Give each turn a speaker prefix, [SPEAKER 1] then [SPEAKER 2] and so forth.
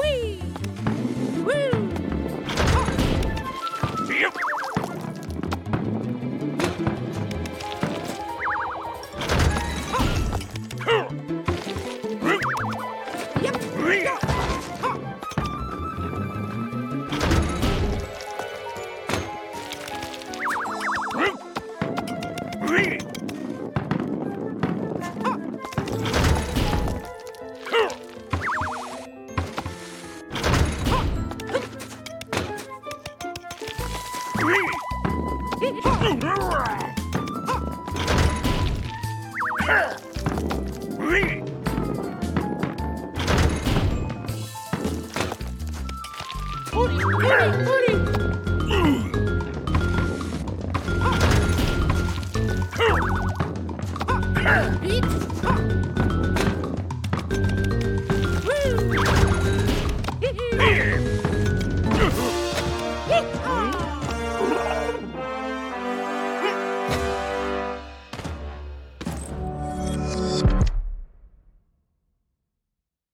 [SPEAKER 1] Whee!